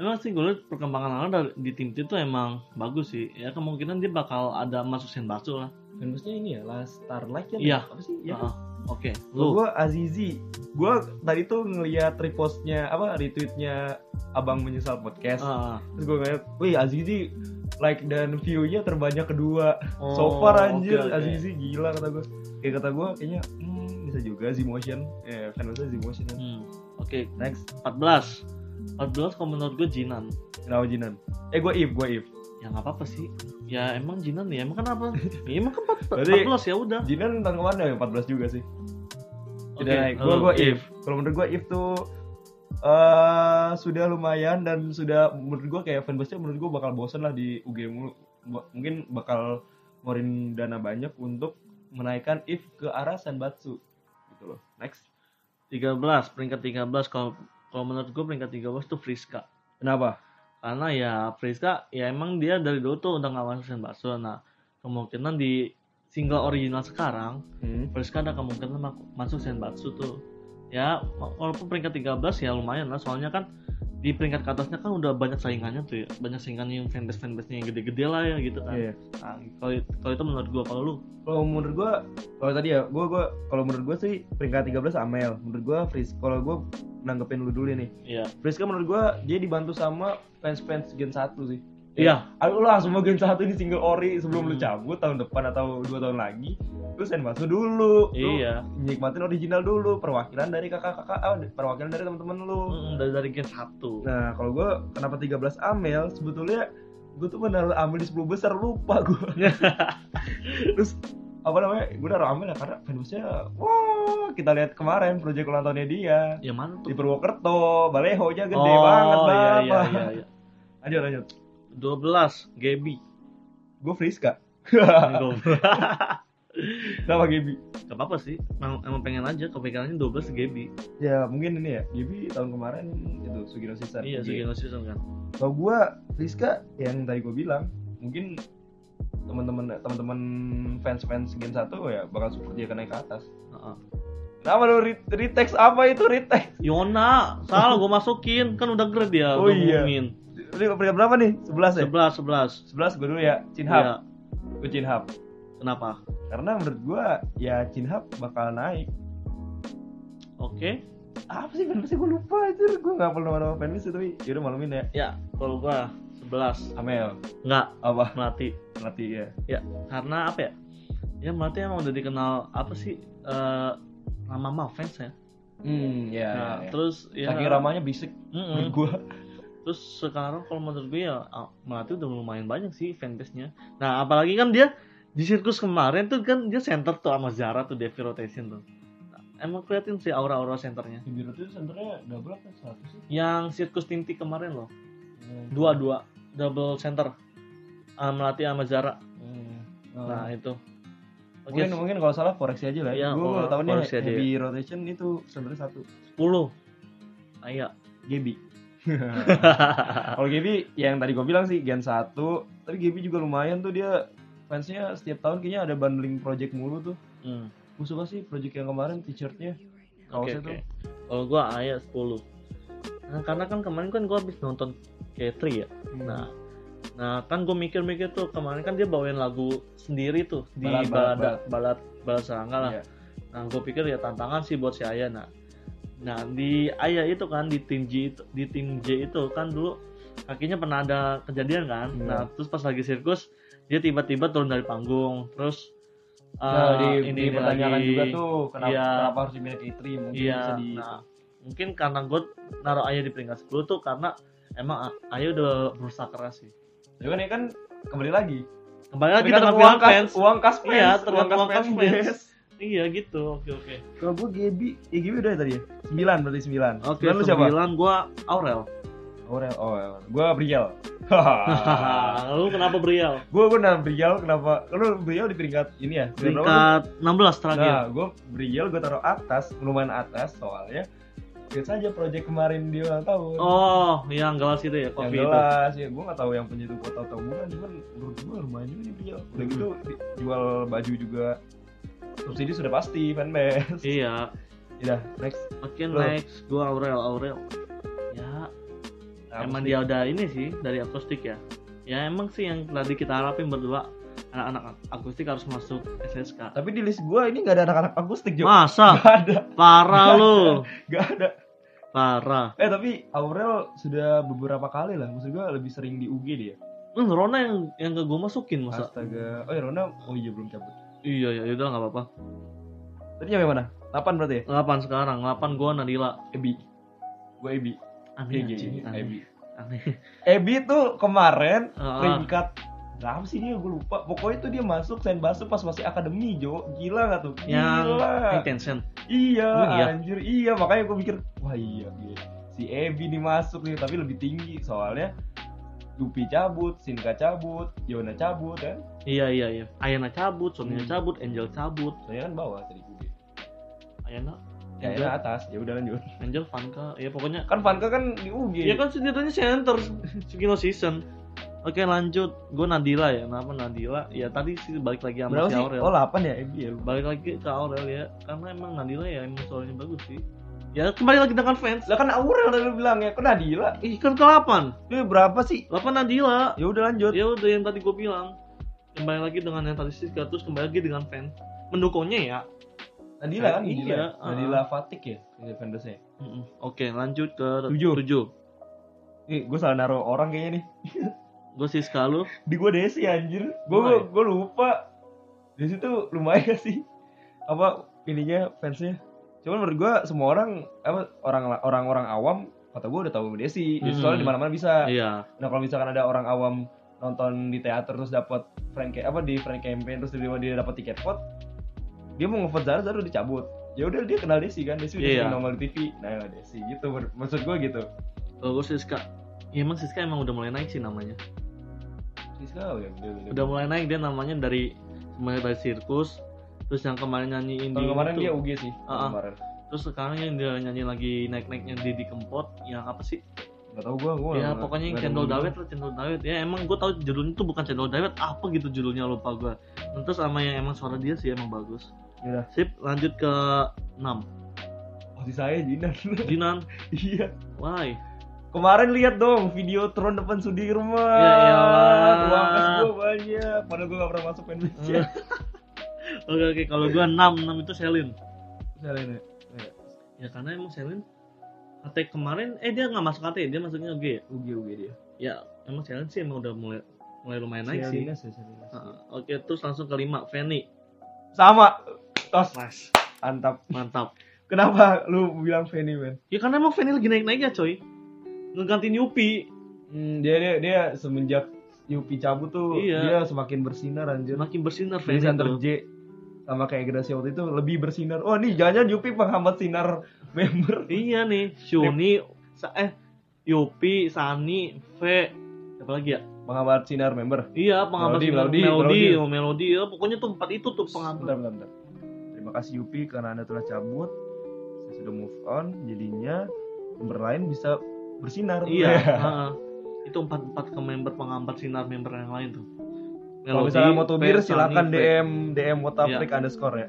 A: emang sih gue liat perkembangan Nala dari- di tim itu emang bagus sih ya kemungkinan dia bakal ada masuk senbatsu lah
B: fanbase-nya ini ya Last Starlight kan
A: Iya.
B: apa sih ya
A: Ah, oke lu
B: gue Azizi gue tadi tuh ngeliat repostnya apa retweetnya abang menyesal podcast
A: Ah, ah.
B: terus gue ngeliat wih Azizi like dan view-nya terbanyak kedua
A: Oh,
B: so far anjir
A: oke, oke.
B: Azizi gila kata gue kayak kata gue kayaknya hmm, bisa juga Zmotion eh fansnya Zmotion kan
A: Hmm, oke
B: next
A: 14 14 kalau menurut gue Jinan
B: kenapa Jinan eh gue If gue If
A: ya nggak apa-apa sih ya emang jinan ya emang kenapa ya emang keempat
B: Berarti-
A: 14 ya udah
B: Jinan tentang kemana ya 14 juga sih
A: oke oh,
B: tidak naik gue
A: lu,
B: gue If
A: If.
B: kalau menurut gue If tuh eh sudah lumayan dan sudah menurut gue kayak fanbase-nya menurut gue bakal bosen lah di UG mulu Ba- mungkin bakal ngeluarin dana banyak untuk menaikkan If ke arah Senbatsu gitu loh next
A: 13 peringkat 13 kalau kalau menurut gue peringkat 13 tuh Friska
B: kenapa
A: karena ya Friska ya emang dia dari dulu tuh udah ngawasin Senbatsu nah kemungkinan di single original sekarang
B: Hmm.
A: Friska ada kemungkinan ma- masuk Senbatsu tuh ya ma- walaupun peringkat 13 ya lumayan lah soalnya kan di peringkat ke atasnya kan udah banyak saingannya tuh ya banyak saingannya yang fanbase fanbase yang gede-gede lah ya gitu kan
B: Iya.
A: Nah, kalau itu- kalau itu menurut gua kalau lu
B: Kalau menurut gua, kalau tadi ya, gua gua kalau menurut gua sih peringkat 13 Amel. Menurut gua Fris, kalau gua nanggepin lu dulu nih.
A: Iya.
B: Friska menurut gua dia dibantu sama fans-fans Gen 1 sih.
A: Iya.
B: Aduh lah semua Gen 1 ini single ori sebelum lu
A: Hmm.
B: cabut tahun depan atau dua tahun lagi. Lu senbatsu dulu. Lu
A: Iya.
B: nikmatin original dulu, perwakilan dari kakak-kakak, ah, perwakilan dari teman-teman lu.
A: Mm, dari dari gen 1.
B: Nah, kalau gua kenapa 13 Amel? Sebetulnya gua tuh menaruh Amel di 10 besar lupa gua. Terus apa namanya? Gua naruh Amel ya karena fanbase-nya wah, kita lihat kemarin project ulang tahunnya dia
A: Ya mana
B: di
A: tuh?
B: Purwokerto, Balehonya gede banget
A: iya,
B: Bapak.
A: iya, iya, iya.
B: Lanjut lanjut.
A: 12 Gaby.
B: Gua Friska. Kenapa Gibi?
A: Gak apa-apa sih. Emang, emang pengen aja kepikirannya 12 Gaby.
B: Ya mungkin ini ya, Gibi tahun kemarin itu Sugino Sister.
A: Iya,
B: Gibi.
A: segala season kan.
B: kalau gua Friska yang tadi gua bilang mungkin teman-teman teman-teman fans-fans Gen 1 ya bakal support dia ke naik ke atas.
A: Heeh.
B: Kenapa lu re- retext apa itu retext?
A: Yona, salah gue masukin. Kan udah grade dia.
B: Oh,
A: gua
B: iya.
A: ngumumin.
B: Ini peringkat berapa nih? 11 ya?
A: 11, 11.
B: 11 gua dulu ya, Chinhap.
A: Iya.
B: Gua Chinhap.
A: Kenapa?
B: Karena menurut gua ya Chinhap bakal naik.
A: Oke.
B: Apa sih fanbase gua lupa aja, gua enggak perlu nama fanbase tapi yaudah malumin ya.
A: Ya, kalau gua 11.
B: Amel
A: Enggak,
B: apa
A: Melati.
B: Melati ya.
A: Karena apa ya? Ya Melati emang udah dikenal apa sih? Eh lama sama fans ya.
B: Hmm, ya.
A: Nah,
B: ya, ya.
A: terus ya Hmm.
B: Saking ramahnya bisik
A: Mm-mm.
B: menurut gua.
A: terus sekarang kalau menurut gue ya ah, Melati udah lumayan banyak sih fanbase-nya nah apalagi kan dia di sirkus kemarin tuh kan dia center tuh sama Zara tuh Devi Rotation tuh Nah, emang keliatin sih aura-aura senternya
B: Nah, Bibir itu senternya double apa satu sih? iya.
A: yang sirkus Tinti kemarin loh dua-dua double center Ah, melatih sama Zara nah
B: Nah,
A: itu oke
B: mungkin mungkin kalau salah koreksi aja lah.
A: Iya,
B: Ya, gue
A: kalau-
B: kalau tahunnya
A: koreksi aja
B: heavy rotation itu sebenarnya satu
A: 10 Ayak
B: Gaby. kalau Gaby yang tadi gue bilang sih Gen 1, tapi Gaby juga lumayan tuh dia fansnya setiap tahun kayaknya ada bundling project mulu tuh.
A: hmm.
B: Gue suka sih project yang kemarin t-shirtnya.
A: Oke
B: Kaosnya
A: oke. Kalau gua ayat 10. Nah, karena kan kemarin kan gua habis nonton K3 ya.
B: tuh.
A: Nah, nah kan gue mikir-mikir tuh kemarin kan dia bawain lagu sendiri tuh di
B: Balad,
A: balad
B: balad,
A: balad balad, serangga lah.
B: Iya.
A: Nah, gue pikir ya tantangan sih buat si Aya. Nah, nah di Aya itu kan di tim J itu, di tim J itu kan dulu kakinya pernah ada kejadian kan.
B: Iya.
A: Nah, terus pas lagi sirkus dia tiba-tiba turun dari panggung. Terus eh,
B: Nah,
A: ini-
B: di,
A: ini
B: dipertanyakan
A: lagi.
B: juga tuh kenapa,
A: Iya.
B: kenapa harus dimiliki Itri mungkin bisa
A: Iya.
B: di
A: Nah, mungkin karena gue naruh Aya di peringkat 10 tuh karena emang Aya udah berusaha keras sih.
B: Tapi kan ya kan kembali lagi.
A: Kembali lagi
B: Kita
A: tentang
B: uang
A: bilang
B: kas,
A: fans.
B: uang kas fans.
A: Iya, tergantung uang kas fans.
B: yes.
A: Iya gitu. Oke oke.
B: Kalau gue Gaby, ya Gaby udah ya tadi ya? 9 berarti 9.
A: Oke.
B: lu siapa?
A: Sembilan gue Aurel.
B: Aurel. Oh, gue Briel.
A: Lu kenapa Briel?
B: gue gue nama Briel kenapa? Lu Briel di peringkat ini ya? Peringkat berapa lu?
A: Peringkat 16 terakhir.
B: Nah, gue Briel gue taruh atas, lumayan atas soalnya. Biasa aja project kemarin di ulang tahun.
A: Oh, yang gelas itu ya
B: yang
A: kopi itu.
B: jelas ya gue nggak tahu yang punya itu foto atau bukan cuman menurut gue lumayan juga nih Briel udah
A: Hmm.
B: gitu di- jual baju juga subsidi sudah pasti fanbase
A: Iya.
B: udah next
A: Oke
B: Lu.
A: next gue Aurel Aurel. Ya
B: Nah,
A: emang
B: maksudnya-
A: dia udah ini sih dari akustik ya. Ya emang sih yang tadi kita harapin berdua anak-anak akustik harus masuk SSK.
B: tapi di list gue ini nggak ada anak-anak akustik juga
A: Masa?
B: nggak ada
A: Parah
B: Nggak
A: lu.
B: nggak ada
A: Parah.
B: eh tapi Aurel sudah beberapa kali lah maksud gue lebih sering di UG dia
A: Hmm, Rona yang yang gak gue masukin masa?
B: astaga oh ya Rona oh iya belum cabut
A: Iya ya udah nggak apa-apa.
B: tadi yang mana 8 berarti ya
A: 8 sekarang, 8 gue Nadila.
B: Ebi gue Ebi Iya,
A: Aneh
B: GG
A: anjing, aneh.
B: Ebi
A: aneh.
B: Ebi tuh kemarin
A: Ah, ah.
B: peringkat berapa sih dia gue lupa pokoknya tuh dia masuk sen basu pas masih akademi Jo gila gak tuh
A: yang
B: gila
A: intention.
B: iya
A: Oh, iya.
B: anjir iya makanya gue mikir wah iya gila. si Ebi nih masuk nih tapi lebih tinggi soalnya Lupi cabut, Sinka cabut, Yona cabut kan
A: Iya iya iya. Ayana cabut, Sonia
B: Hmm.
A: cabut, Angel cabut.
B: saya kan bawah tadi gue
A: Ayana,
B: ya
A: Angel,
B: Yona atas ya udah lanjut
A: Angel, Vanka, ya pokoknya.
B: kan Vanka kan di UG
A: Ya kan setidaknya center sekilo season. Oke lanjut, gue Nadila ya. Kenapa Nadila? Ya tadi sih balik lagi sama
B: berapa
A: si
B: sih
A: Aurel.
B: oh 8 ya Ebi ya lupa
A: Balik lagi ke Aurel ya, karena emang Nadila ya emang suaranya bagus sih. Ya kembali lagi dengan fans.
B: lah kan Aurel udah lu bilang ya kok Nadila
A: Ih kan ke 8
B: lu berapa sih
A: 8 Nadila
B: ya udah lanjut
A: ya udah yang tadi gue bilang kembali lagi dengan yang tadi Siska terus kembali lagi dengan fans mendukungnya ya
B: Nadila kan
A: Iya,
B: Nadila, ya?
A: uh-uh.
B: Nadila Fatik ya fanbase nya
A: Mm-mm. oke lanjut ke
B: Tujuh.
A: tujuh
B: Ih, gue salah naruh orang kayaknya nih.
A: gue Siska lu
B: Di gue Desi anjir. Gue
A: Why?
B: gue lupa. Desi tuh lumayan sih. Apa ininya fansnya. Cuman menurut gue semua orang apa orang orang orang awam kata gue udah tahu Desi.
A: Hmm.
B: Desi soalnya di mana-mana bisa.
A: iya
B: Nah kalau misalkan ada orang awam nonton di teater terus dapat frank apa di frank campaign terus tiba-tiba dia dapat tiket vote dia mau ngevote Zara Zara udah cabut ya udah dia kenal Desi kan Desi udah
A: Iya.
B: sering nongol di TV nah Desi gitu menurut- maksud gue gitu
A: kalau gue Oh, Siska ya emang Siska emang udah mulai naik sih namanya
B: Desi kau ya udah
A: udah mulai naik dia namanya dari mulai dari sirkus terus yang kemarin nyanyiin di
B: Tahun kemarin
A: itu.
B: dia UG sih. tahun
A: Ah, ah.
B: Kemarin.
A: terus sekarang yang dia nyanyi lagi naik naiknya Didi Kempot yang apa sih
B: Gak tau gue, gue.
A: ya pokoknya yang cendol dawet lah cendol dawet ya emang gue tahu judulnya tuh bukan cendol dawet apa gitu judulnya lupa gue Nah, terus sama yang emang suara dia sih emang bagus
B: Yaudah.
A: sip lanjut ke 6
B: Posisi saya Jinan.
A: Jinan
B: iya.
A: why
B: Kemarin lihat dong video Tron depan Sudi rumah.
A: Ya iyalah.
B: Ruangan gue banyak. Padahal gue gak pernah masuk fanbase ya.
A: Hmm. oke oke kalau gue 6 6 itu Selin
B: Misalnya ini.
A: ya karena emang Selin KT kemarin eh dia nggak masuk KT dia masuknya OG ya
B: UG UG dia.
A: ya emang Selin sih emang udah mulai mulai lumayan naik sih
B: Sialinas ya, Sialinas.
A: Heeh. oke terus langsung ke lima Fanny
B: Sama. Tos.
A: mas
B: Antap.
A: mantap
B: Kenapa lu bilang Fanny men?
A: ya karena emang Fanny lagi naik naik ya coy ngegantiin Yupi
B: Hmm, dia dia dia semenjak Yupi cabut tuh
A: Iya.
B: dia semakin bersinar anjir.
A: makin bersinar
B: Dari
A: Fanny
B: center
A: tuh.
B: J sama kayak generasi waktu itu lebih bersinar. Oh nih jangan-jangan Yupi penghambat sinar member.
A: Iya nih, Shuni, Sa- eh Yopi, Sani, V, Apa lagi ya?
B: Pengamat sinar member.
A: Iya, pengamat
B: Melodi,
A: melodi,
B: melodi,
A: melodi,
B: melodi.
A: oh, melodi, ya, pokoknya tuh empat itu tuh pengamat.
B: Bentar, bentar, bentar. Terima kasih Yupi karena Anda telah cabut. Saya sudah move on, jadinya member lain bisa bersinar.
A: Iya, heeh. itu empat empat ke member pengamat sinar member yang lain tuh.
B: Kalau misalnya mau
A: Melodi,
B: tubir
A: Persani,
B: silakan
A: Fe-
B: DM DM Wotaprik
A: Iya.
B: underscore ya.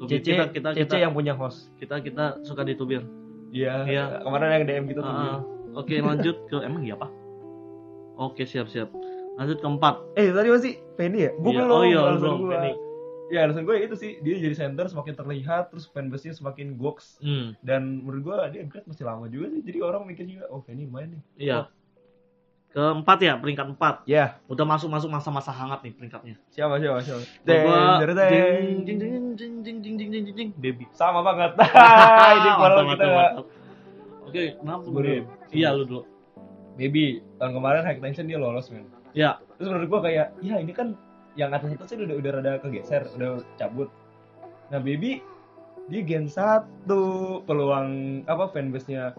A: Tubir.
B: CC
A: kita kita
B: CC
A: kita,
B: yang punya host.
A: kita kita suka ditubir.
B: Iya.
A: Iya. Ah,
B: Kemarin yang DM gitu tuh.
A: Heeh. Oke, lanjut ke emang iya apa? Oke, siap-siap. Lanjut ke empat.
B: Eh tadi masih Penny ya? Gue
A: Iya,
B: belum.
A: oh iya,
B: alasan
A: belum,
B: gua.
A: Penny.
B: Iya alasan gue itu sih dia jadi center semakin terlihat terus fanbase-nya semakin goks
A: Hmm,
B: dan menurut gue dia upgrade masih lama juga sih jadi orang mikir juga oh Penny main nih.
A: iya. Keempat ya, peringkat empat.
B: Ya
A: Udah masuk-masuk masa-masa hangat nih peringkatnya.
B: siapa siapa siapa.
A: Gua-
B: Deng, deng,
A: ding,
B: deng.
A: ding, ding, ding, ding, ding, ding, ding, ding, ding, baby.
B: Sama banget. Ini kalau
A: Mantap,
B: kita
A: mantap, mantap. Oke, kenapa
B: Gua dulu.
A: Iya, lu dulu.
B: Baby tahun kemarin high tension dia lolos men.
A: Ya.
B: Terus menurut gua kayak ya ini kan yang atas atas udah udah rada kegeser, udah cabut. Nah Baby dia gen satu peluang apa fanbase-nya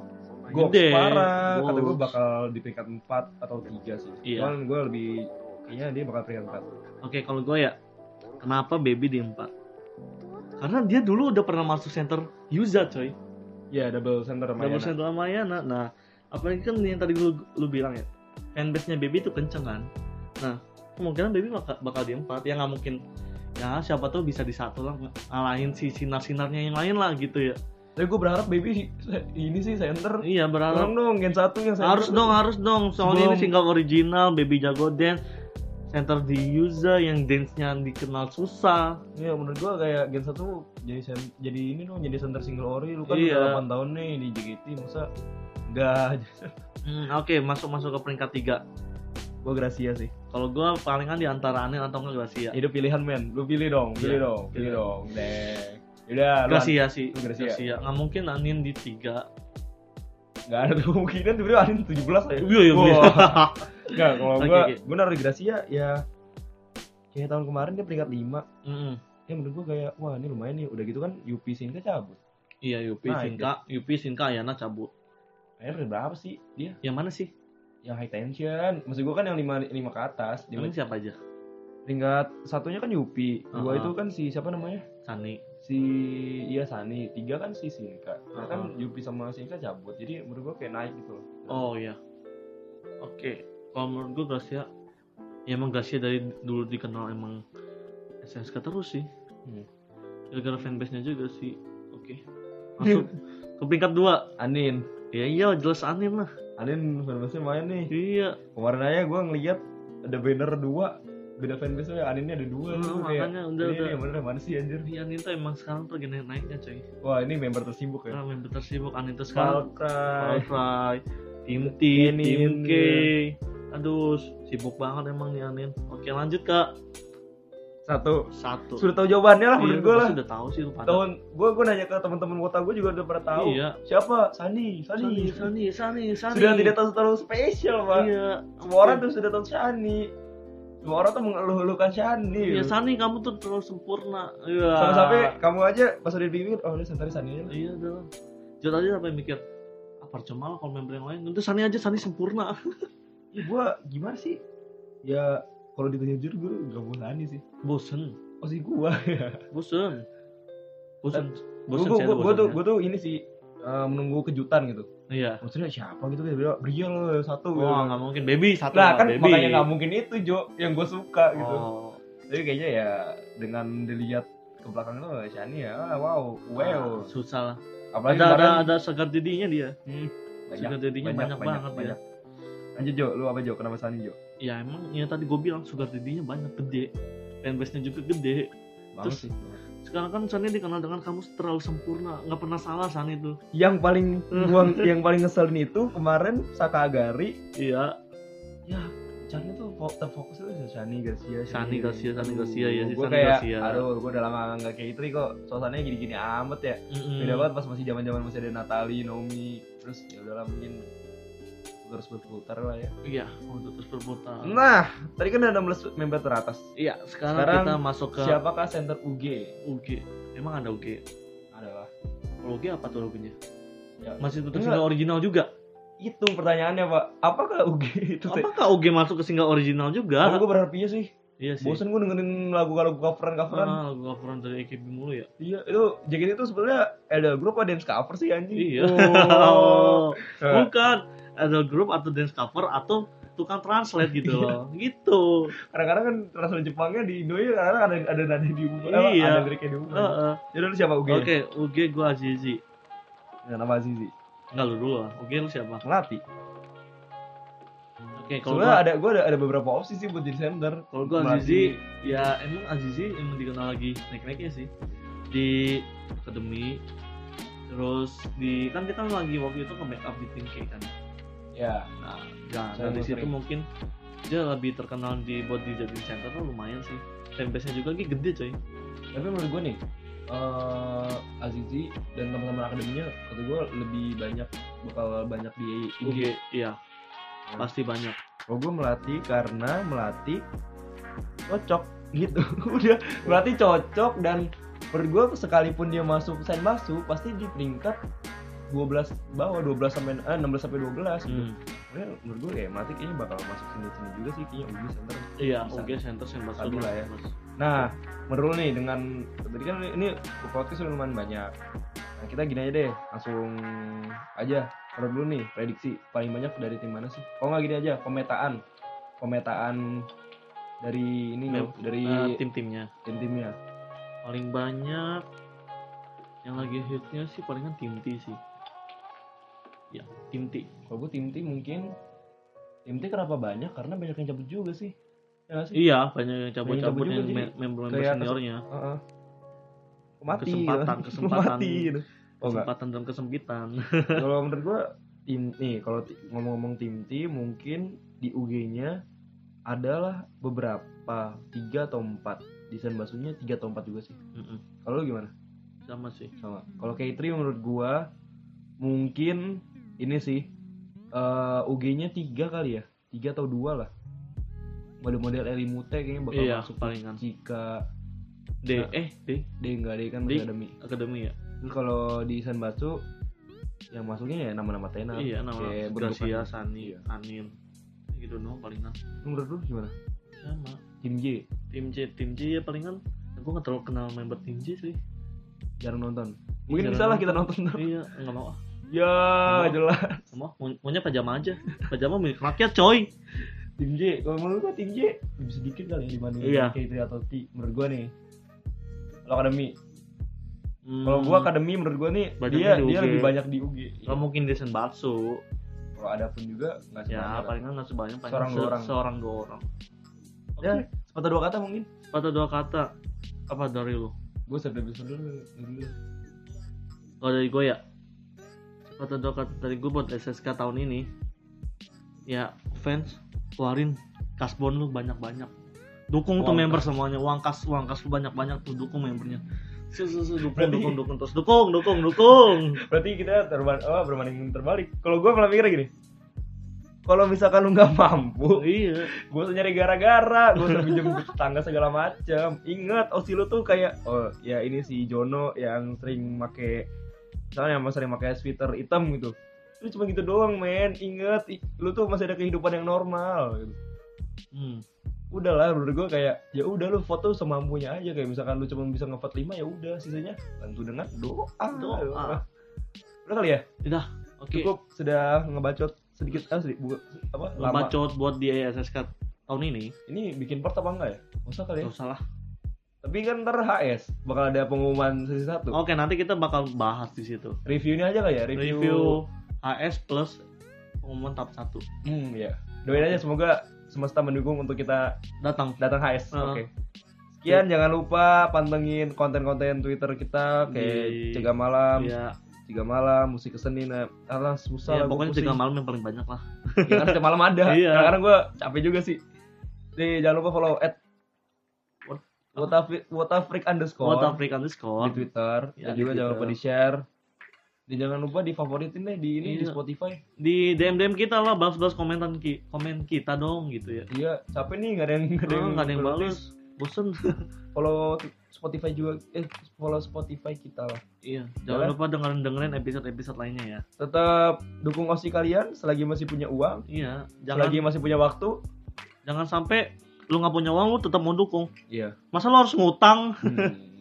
B: gue
A: Gede.
B: parah kata gue
A: Goals.
B: bakal di peringkat 4 atau 3 sih
A: Iya.
B: cuman gue lebih kayaknya dia bakal peringkat
A: Oke, kalau gue ya, kenapa baby di empat? Karena dia dulu udah pernah masuk center Yuza, coy.
B: 4 ya double center sama
A: Double
B: Yana.
A: center sama Yana. Nah, apalagi kan yang tadi lu, lu bilang ya, fanbase-nya baby itu kenceng kan. Nah, kemungkinan baby bakal, bakal di empat. Ya nggak mungkin ya siapa tuh bisa di satu lah ngalahin si sinar-sinarnya yang lain lah gitu ya
B: tapi gue berharap baby ini sih center
A: iya berharap
B: tolong dong gen satu yang center
A: harus dong harus dong soalnya ini
B: Belum.
A: single original baby jago dance center di user yang dance nya dikenal susah
B: Iya menurut gue kayak gen satu jadi sen- jadi ini dong jadi center single ori lu kan
A: Iya.
B: udah 8 tahun nih di JKT masa enggak
A: Hmm, oke masuk masuk ke peringkat tiga
B: gue Gracia sih
A: kalau gua palingan di antara Anil atau nggak Gracia
B: itu pilihan men lu pilih dong pilih
A: Iya.
B: dong pilih
A: Iya.
B: dong deh Yaudah, lu an-
A: Gracia sih
B: Gracia.
A: Gracia nggak mungkin Anin di tiga
B: nggak ada tuh kemungkinan sebenernya Anin 17 aja
A: iya iya iya.
B: Wah. Enggak, kalau
A: Oke,
B: gue,
A: oke.
B: gue naruh di Gracia ya kayak tahun kemarin dia peringkat 5
A: Mm-mm.
B: ya menurut gue kayak wah ini lumayan nih udah gitu kan UP Sinka cabut
A: iya Yupi
B: Nah,
A: Sinka Yupi Sinka Ayana cabut
B: kayaknya peringkat berapa sih dia
A: yang mana sih
B: yang high tension maksud gue kan yang 5 lima ke atas dia
A: emang siapa aja
B: peringkat satunya kan UP dua
A: Uh-huh.
B: itu kan si siapa namanya
A: Sani
B: si iya Sani tiga kan si Sinka nah kan UP sama Sinka cabut jadi menurut gue kayak naik gitu loh
A: oh iya oke kalau menurut gua Gracia ya emang Gracia dari dulu dikenal emang SSK terus sih
B: Hmm.
A: gara-gara fanbase nya juga sih oke masuk ke peringkat dua
B: Anin
A: ya iya jelas Anin lah
B: Anin fanbase main nih
A: iya
B: kemarin aja gue ngeliat ada banner dua beda fanbase nya Aninnya ada dua
A: Hmm,
B: tuh, kayak
A: makanya udah
B: ini,
A: udah
B: ini yang bener yang mana sih anjir
A: Iya, Anin tuh emang sekarang tuh gini naiknya coy
B: Wah ini member tersibuk ya.
A: karena member tersibuk Anin tuh sekarang
B: Malcry.
A: Spotify Tim T
B: Ini,
A: Tim
B: ini.
A: K aduh sibuk banget emang nih Anin oke lanjut ke
B: Satu.
A: satu
B: Sudah tahu jawabannya lah
A: Iya,
B: menurut gue lah.
A: pasti udah tahu sih lu pada
B: Tahun gue gue nanya ke teman-teman kota gue juga udah pernah tahu.
A: iya
B: Siapa? Sani.
A: Sani
B: Sani.
A: Sani Sani Sani
B: Sudah tidak tahu terlalu spesial pak.
A: iya
B: Semua orang tuh sudah tahu Sani. Semua orang tuh mengeluh-eluhkan Sani.
A: Iya Sani kamu tuh terlalu sempurna Iya
B: Sampai-sampai kamu aja pas udah dipikir, oh ini santari Sani aja. lah.
A: Iya udah. Jod aja sampai mikir apa cuma lah kalau member yang lain. Nanti Sani aja Sani sempurna.
B: Ya, gue gimana sih? Ya kalau ditanya jujur gue gak mau Sani sih.
A: Bosen,
B: Oh sih gue.
A: bosen, bosen, bosen.
B: Gue
A: saya tuh
B: tuh gue tuh
A: bosennya.
B: gue tuh ini sih eh, menunggu kejutan gitu.
A: Iya.
B: maksudnya siapa gitu kayak bilang Brio loh satu gitu.
A: Wah Oh, nggak mungkin baby satu.
B: nah kan
A: baby.
B: makanya nggak mungkin itu Jo yang gue suka gitu
A: Oh.
B: jadi kayaknya ya dengan dilihat ke belakang itu Shani ya ah, wow wow
A: Ah, susah lah.
B: apalagi
A: Ada ada
B: kemarin
A: ada segar didinya dia.
B: hmm, banyak,
A: Sugar daddy-nya banyak banget ya.
B: lanjut Jo lu apa Jo kenapa Shani Jo
A: Ya emang ya tadi gue bilang sugar didinya banyak gede. Fanbase-nya juga gede.
B: Banget
A: Terus- Sekarang kan Sani dikenal dengan kamu terlalu sempurna, nggak pernah salah Sani tuh.
B: yang paling gua yang paling ngeselin itu kemarin Saka Agari
A: Iya.
B: ya Shani tuh fo- terfokus itu Shani Garcia iya
A: Shani Garcia, Shani Garcia, ya sih,
B: gue
A: Shani
B: kayak
A: Garcia.
B: aduh gue udah lama nggak kayak gitu nih kok suasananya gini-gini amat ya
A: Mm-mm.
B: beda banget pas masih zaman zaman masih ada Natali, Naomi, terus ya udahlah mungkin terus berputar lah ya.
A: Iya. Untuk terus berputar.
B: Nah, tadi kan ada 16 member teratas.
A: Iya, sekarang,
B: Sekarang
A: kita masuk ke
B: Siapakah center UG?
A: UG. Emang ada UG?
B: Adalah
A: Kalau UG apa tuh UG-nya?
B: Ya,
A: Masih tetap
B: enggak.
A: single original juga.
B: itu pertanyaannya pak apakah UG itu teh
A: Apakah UG masuk ke single original
B: Kalau
A: juga?
B: gue berharapnya sih
A: Iya sih.
B: bosen gue dengerin lagu lagu coveran coveran
A: Ah, lagu coveran dari AKB mulu ya.
B: iya itu JKT itu sebenarnya ada grup ada dance cover sih anjing
A: Iya.
B: Oh. Eh,
A: Bukan idol group atau dance cover atau tukang translate gitu loh. gitu.
B: kadang-kadang kan translate Jepangnya di Indo ya kadang ada ada nada di apa,
A: Iya.
B: ada liriknya di
A: Heeh.
B: umum jadi lu siapa UG
A: Oke, UG gua Azizi.
B: nama Azizi
A: Enggak lu dulu lah. UG lu siapa?
B: Melati
A: Oke, kalau
B: sebenarnya
A: gua
B: ada gue ada, ada beberapa opsi sih buat jadi center
A: kalau gua
B: Melati.
A: Azizi ya emang Azizi emang dikenal lagi naik-naiknya sih di akademi terus di kan kita lagi waktu itu ke make up di Think K kan
B: ya
A: Nah, nah
B: Saya
A: dari
B: mau
A: situ
B: sering.
A: mungkin dia lebih terkenal di buat di Jabin Center tuh lumayan sih. Fanbase-nya juga lagi gede
B: Iya.
A: coy.
B: tapi menurut gue nih eh Azizi dan teman-teman akademinya kata gue lebih banyak bakal banyak di IG
A: Oke, iya.
B: Hmm.
A: Pasti banyak.
B: Oh gue melatih karena melatih cocok gitu udah melatih cocok dan menurut gue sekalipun dia masuk sen masuk pasti di peringkat 12 bawah 12 sampai eh, 16 sampai 12 gitu.
A: Hmm.
B: Makanya menurut gue kayak melatih kayaknya bakal masuk sini sini juga sih kayaknya Ugi center.
A: Iya,
B: Bisa.
A: OG Center Senbas
B: Tadi
A: Senbas.
B: lah ya. Nah menurut lu nih dengan tadi kan ini ke podcast udah lumayan banyak. Nah kita gini aja deh langsung aja menurut lu nih prediksi paling banyak dari tim mana sih? Kalau nggak gini aja pemetaan pemetaan dari ini
A: Mem-
B: loh, dari
A: Nah, tim-timnya
B: tim-timnya.
A: paling banyak yang lagi hitnya sih palingan tim T sih. Ya, tim T.
B: Kalau gue tim tim mungkin tim tim kenapa banyak? Karena banyak yang cabut juga sih. Ya nggak sih?
A: Iya, banyak yang cabut-cabut
B: juga
A: yang
B: jadi
A: me- member-member
B: kayak kes-
A: seniornya.
B: Heeh. Mati,
A: Kesempatan,
B: gitu.
A: kesempatan.
B: Mati, gitu. Oh enggak.
A: Kesempatan dan kesempitan.
B: kalau menurut gue tim nih kalau ti- ngomong-ngomong tim T mungkin di UG-nya adalah beberapa tiga atau empat desain basuhnya tiga atau empat juga sih.
A: Mm-mm.
B: Kalau lu gimana?
A: Sama sih.
B: Sama. Kalau K3 menurut gua mungkin ini sih eh UG-nya tiga kali ya, tiga atau dua lah. Model-model Elimute kayaknya bakal
A: Iya,
B: masuk
A: palingan.
B: jika
A: D
B: Nah.
A: eh D
B: D nggak D kan
A: D.
B: masih ada Mi.
A: akademi ya.
B: Terus kalau di Sanbatsu yang masuknya ya nama-nama tenar.
A: iya, nama
B: kayak
A: Gracia,
B: bentukannya.
A: Sani,
B: Iya.
A: Anin. Gitu doang palingan.
B: Menurut lu gimana?
A: Sama.
B: Tim J
A: tim J tim J ya palingan aku nggak terlalu kenal member tim J sih
B: jarang nonton. Mungkin
A: Jarang
B: bisa lah kita nonton.
A: iya nggak mau ah
B: ya,
A: Nggak.
B: jelas.
A: nggak mau Mau- maunya pajama aja pajama milik rakyat coy
B: Tim J, kalau menurut gua tim J lebih sedikit kali ya dibanding
A: Iya.
B: K3 atau T menurut gua nih. Kalau akademi,
A: Hmm,
B: kalau gua akademi menurut gua nih
A: Banyaknya
B: dia
A: di
B: dia
A: UG.
B: lebih banyak di UG.
A: nggak mungkin desain bakso
B: Kalau ada pun juga nggak sebanyak
A: ya
B: lah.
A: palingan nggak sebanyak paling
B: Seorang dua orang.
A: seorang dua orang oke
B: Ya, sepatah dua kata mungkin.
A: patah dua kata apa dari lu
B: Gua sampai bisa dulu. dulu.
A: kalau dari gue ya patah dua kata dari gue buat SSK tahun ini ya fans keluarin kasbon lu banyak banyak dukung tuh
B: Uang
A: member semuanya uang kas uang kas lu banyak banyak tuh dukung membernya Su- su- su, dukung
B: Berarti-
A: dukung dukung terus dukung dukung dukung
B: Berarti kita terban oh, berbanding terbalik. Kalau gua malah mikirnya gini. Kalau misalkan lu nggak mampu,
A: iya
B: gue usah nyari gara-gara gue usah pinjam ke tetangga segala macam ingat osi lu tuh kayak oh ya ini si Jono yang sering make misalnya yang sering make sweater hitam gitu lu cuma gitu doang men inget i- lu tuh masih ada kehidupan yang normal gitu.
A: hmm.
B: udahlah menurut gue kayak ya udah lu foto semampunya aja kayak misalkan lu cuma bisa ngevote 5 ya udah sisanya bantu dengan doa
A: Doa.
B: udah kali ya
A: oke
B: cukup sudah ngebacot sedikit ah, sedikit bu- apa lama
A: bacot buat di SSK tahun ini
B: ini bikin part apa enggak ya Nggak usah kali ya
A: nggak usah lah
B: Tapi kan ntar HS bakal ada pengumuman sesi satu.
A: oke nanti kita bakal bahas di situ
B: Reviewnya aja kali ya, review.
A: review HS plus pengumuman tahap satu
B: Hmm, ya. Doain aja semoga semesta mendukung untuk kita
A: datang
B: datang HS.
A: Heeh.
B: Oke. Sekian
A: Iya.
B: jangan lupa pantengin konten-konten Twitter
A: Di-
B: kita kayak Cega Malam,
A: ya,
B: Cega Malam, Musik Keseni. Nah, alah, susah
A: ya
B: lah gua
A: pokoknya
B: pusing.
A: tiga malam yang paling banyak lah
B: Ya, kan tiap malam ada.
A: Iya.
B: Kadang-kadang gue capek juga sih. Nih, jangan lupa follow at
A: What-
B: Whatafri- Whatafreak underscore.
A: What Africa
B: di
A: underscore
B: Twitter
A: Ya,
B: dan
A: di
B: juga jangan
A: Twitter.
B: lupa di share dan jangan lupa di favoritin deh di ini di
A: Iya.
B: Spotify
A: di DM DM kita lah bahas bahas komentan ki komen kita dong gitu ya.
B: iya capek nih nggak ada yang nggak
A: Ah, Nggak ada yang
B: balas
A: balas. bosen
B: Follow Spotify juga eh follow Spotify kita lah.
A: iya jangan
B: Boleh.
A: lupa dengerin dengerin episode episode lainnya ya
B: Tetap dukung OSI kalian selagi masih punya uang,
A: iya jangan
B: selagi masih punya waktu.
A: jangan sampai lu nggak punya uang lu tetap mau dukung
B: Iya.
A: masa lu harus ngutang
B: Hmm.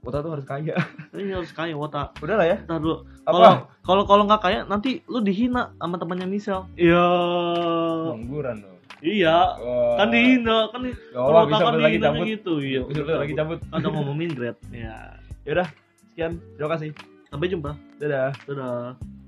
B: Otak tuh harus kaya.
A: ini harus kaya wota
B: Udah lah ya.
A: Ntar dulu
B: Apa?
A: kalau kalau kalau nggak kaya nanti lu dihina sama temannya Michelle iya
B: Pengangguran loh.
A: iya
B: Wah.
A: kan dihina kan
B: Ya Allah, bisa
A: kan
B: beli lagi
A: dihinanya
B: cabut.
A: gitu iya
B: Bisa beli lagi cabut.
A: ada ngomongin grade ya
B: Yaudah, sekian. Terima kasih.
A: sampai jumpa
B: Dadah.
A: dadah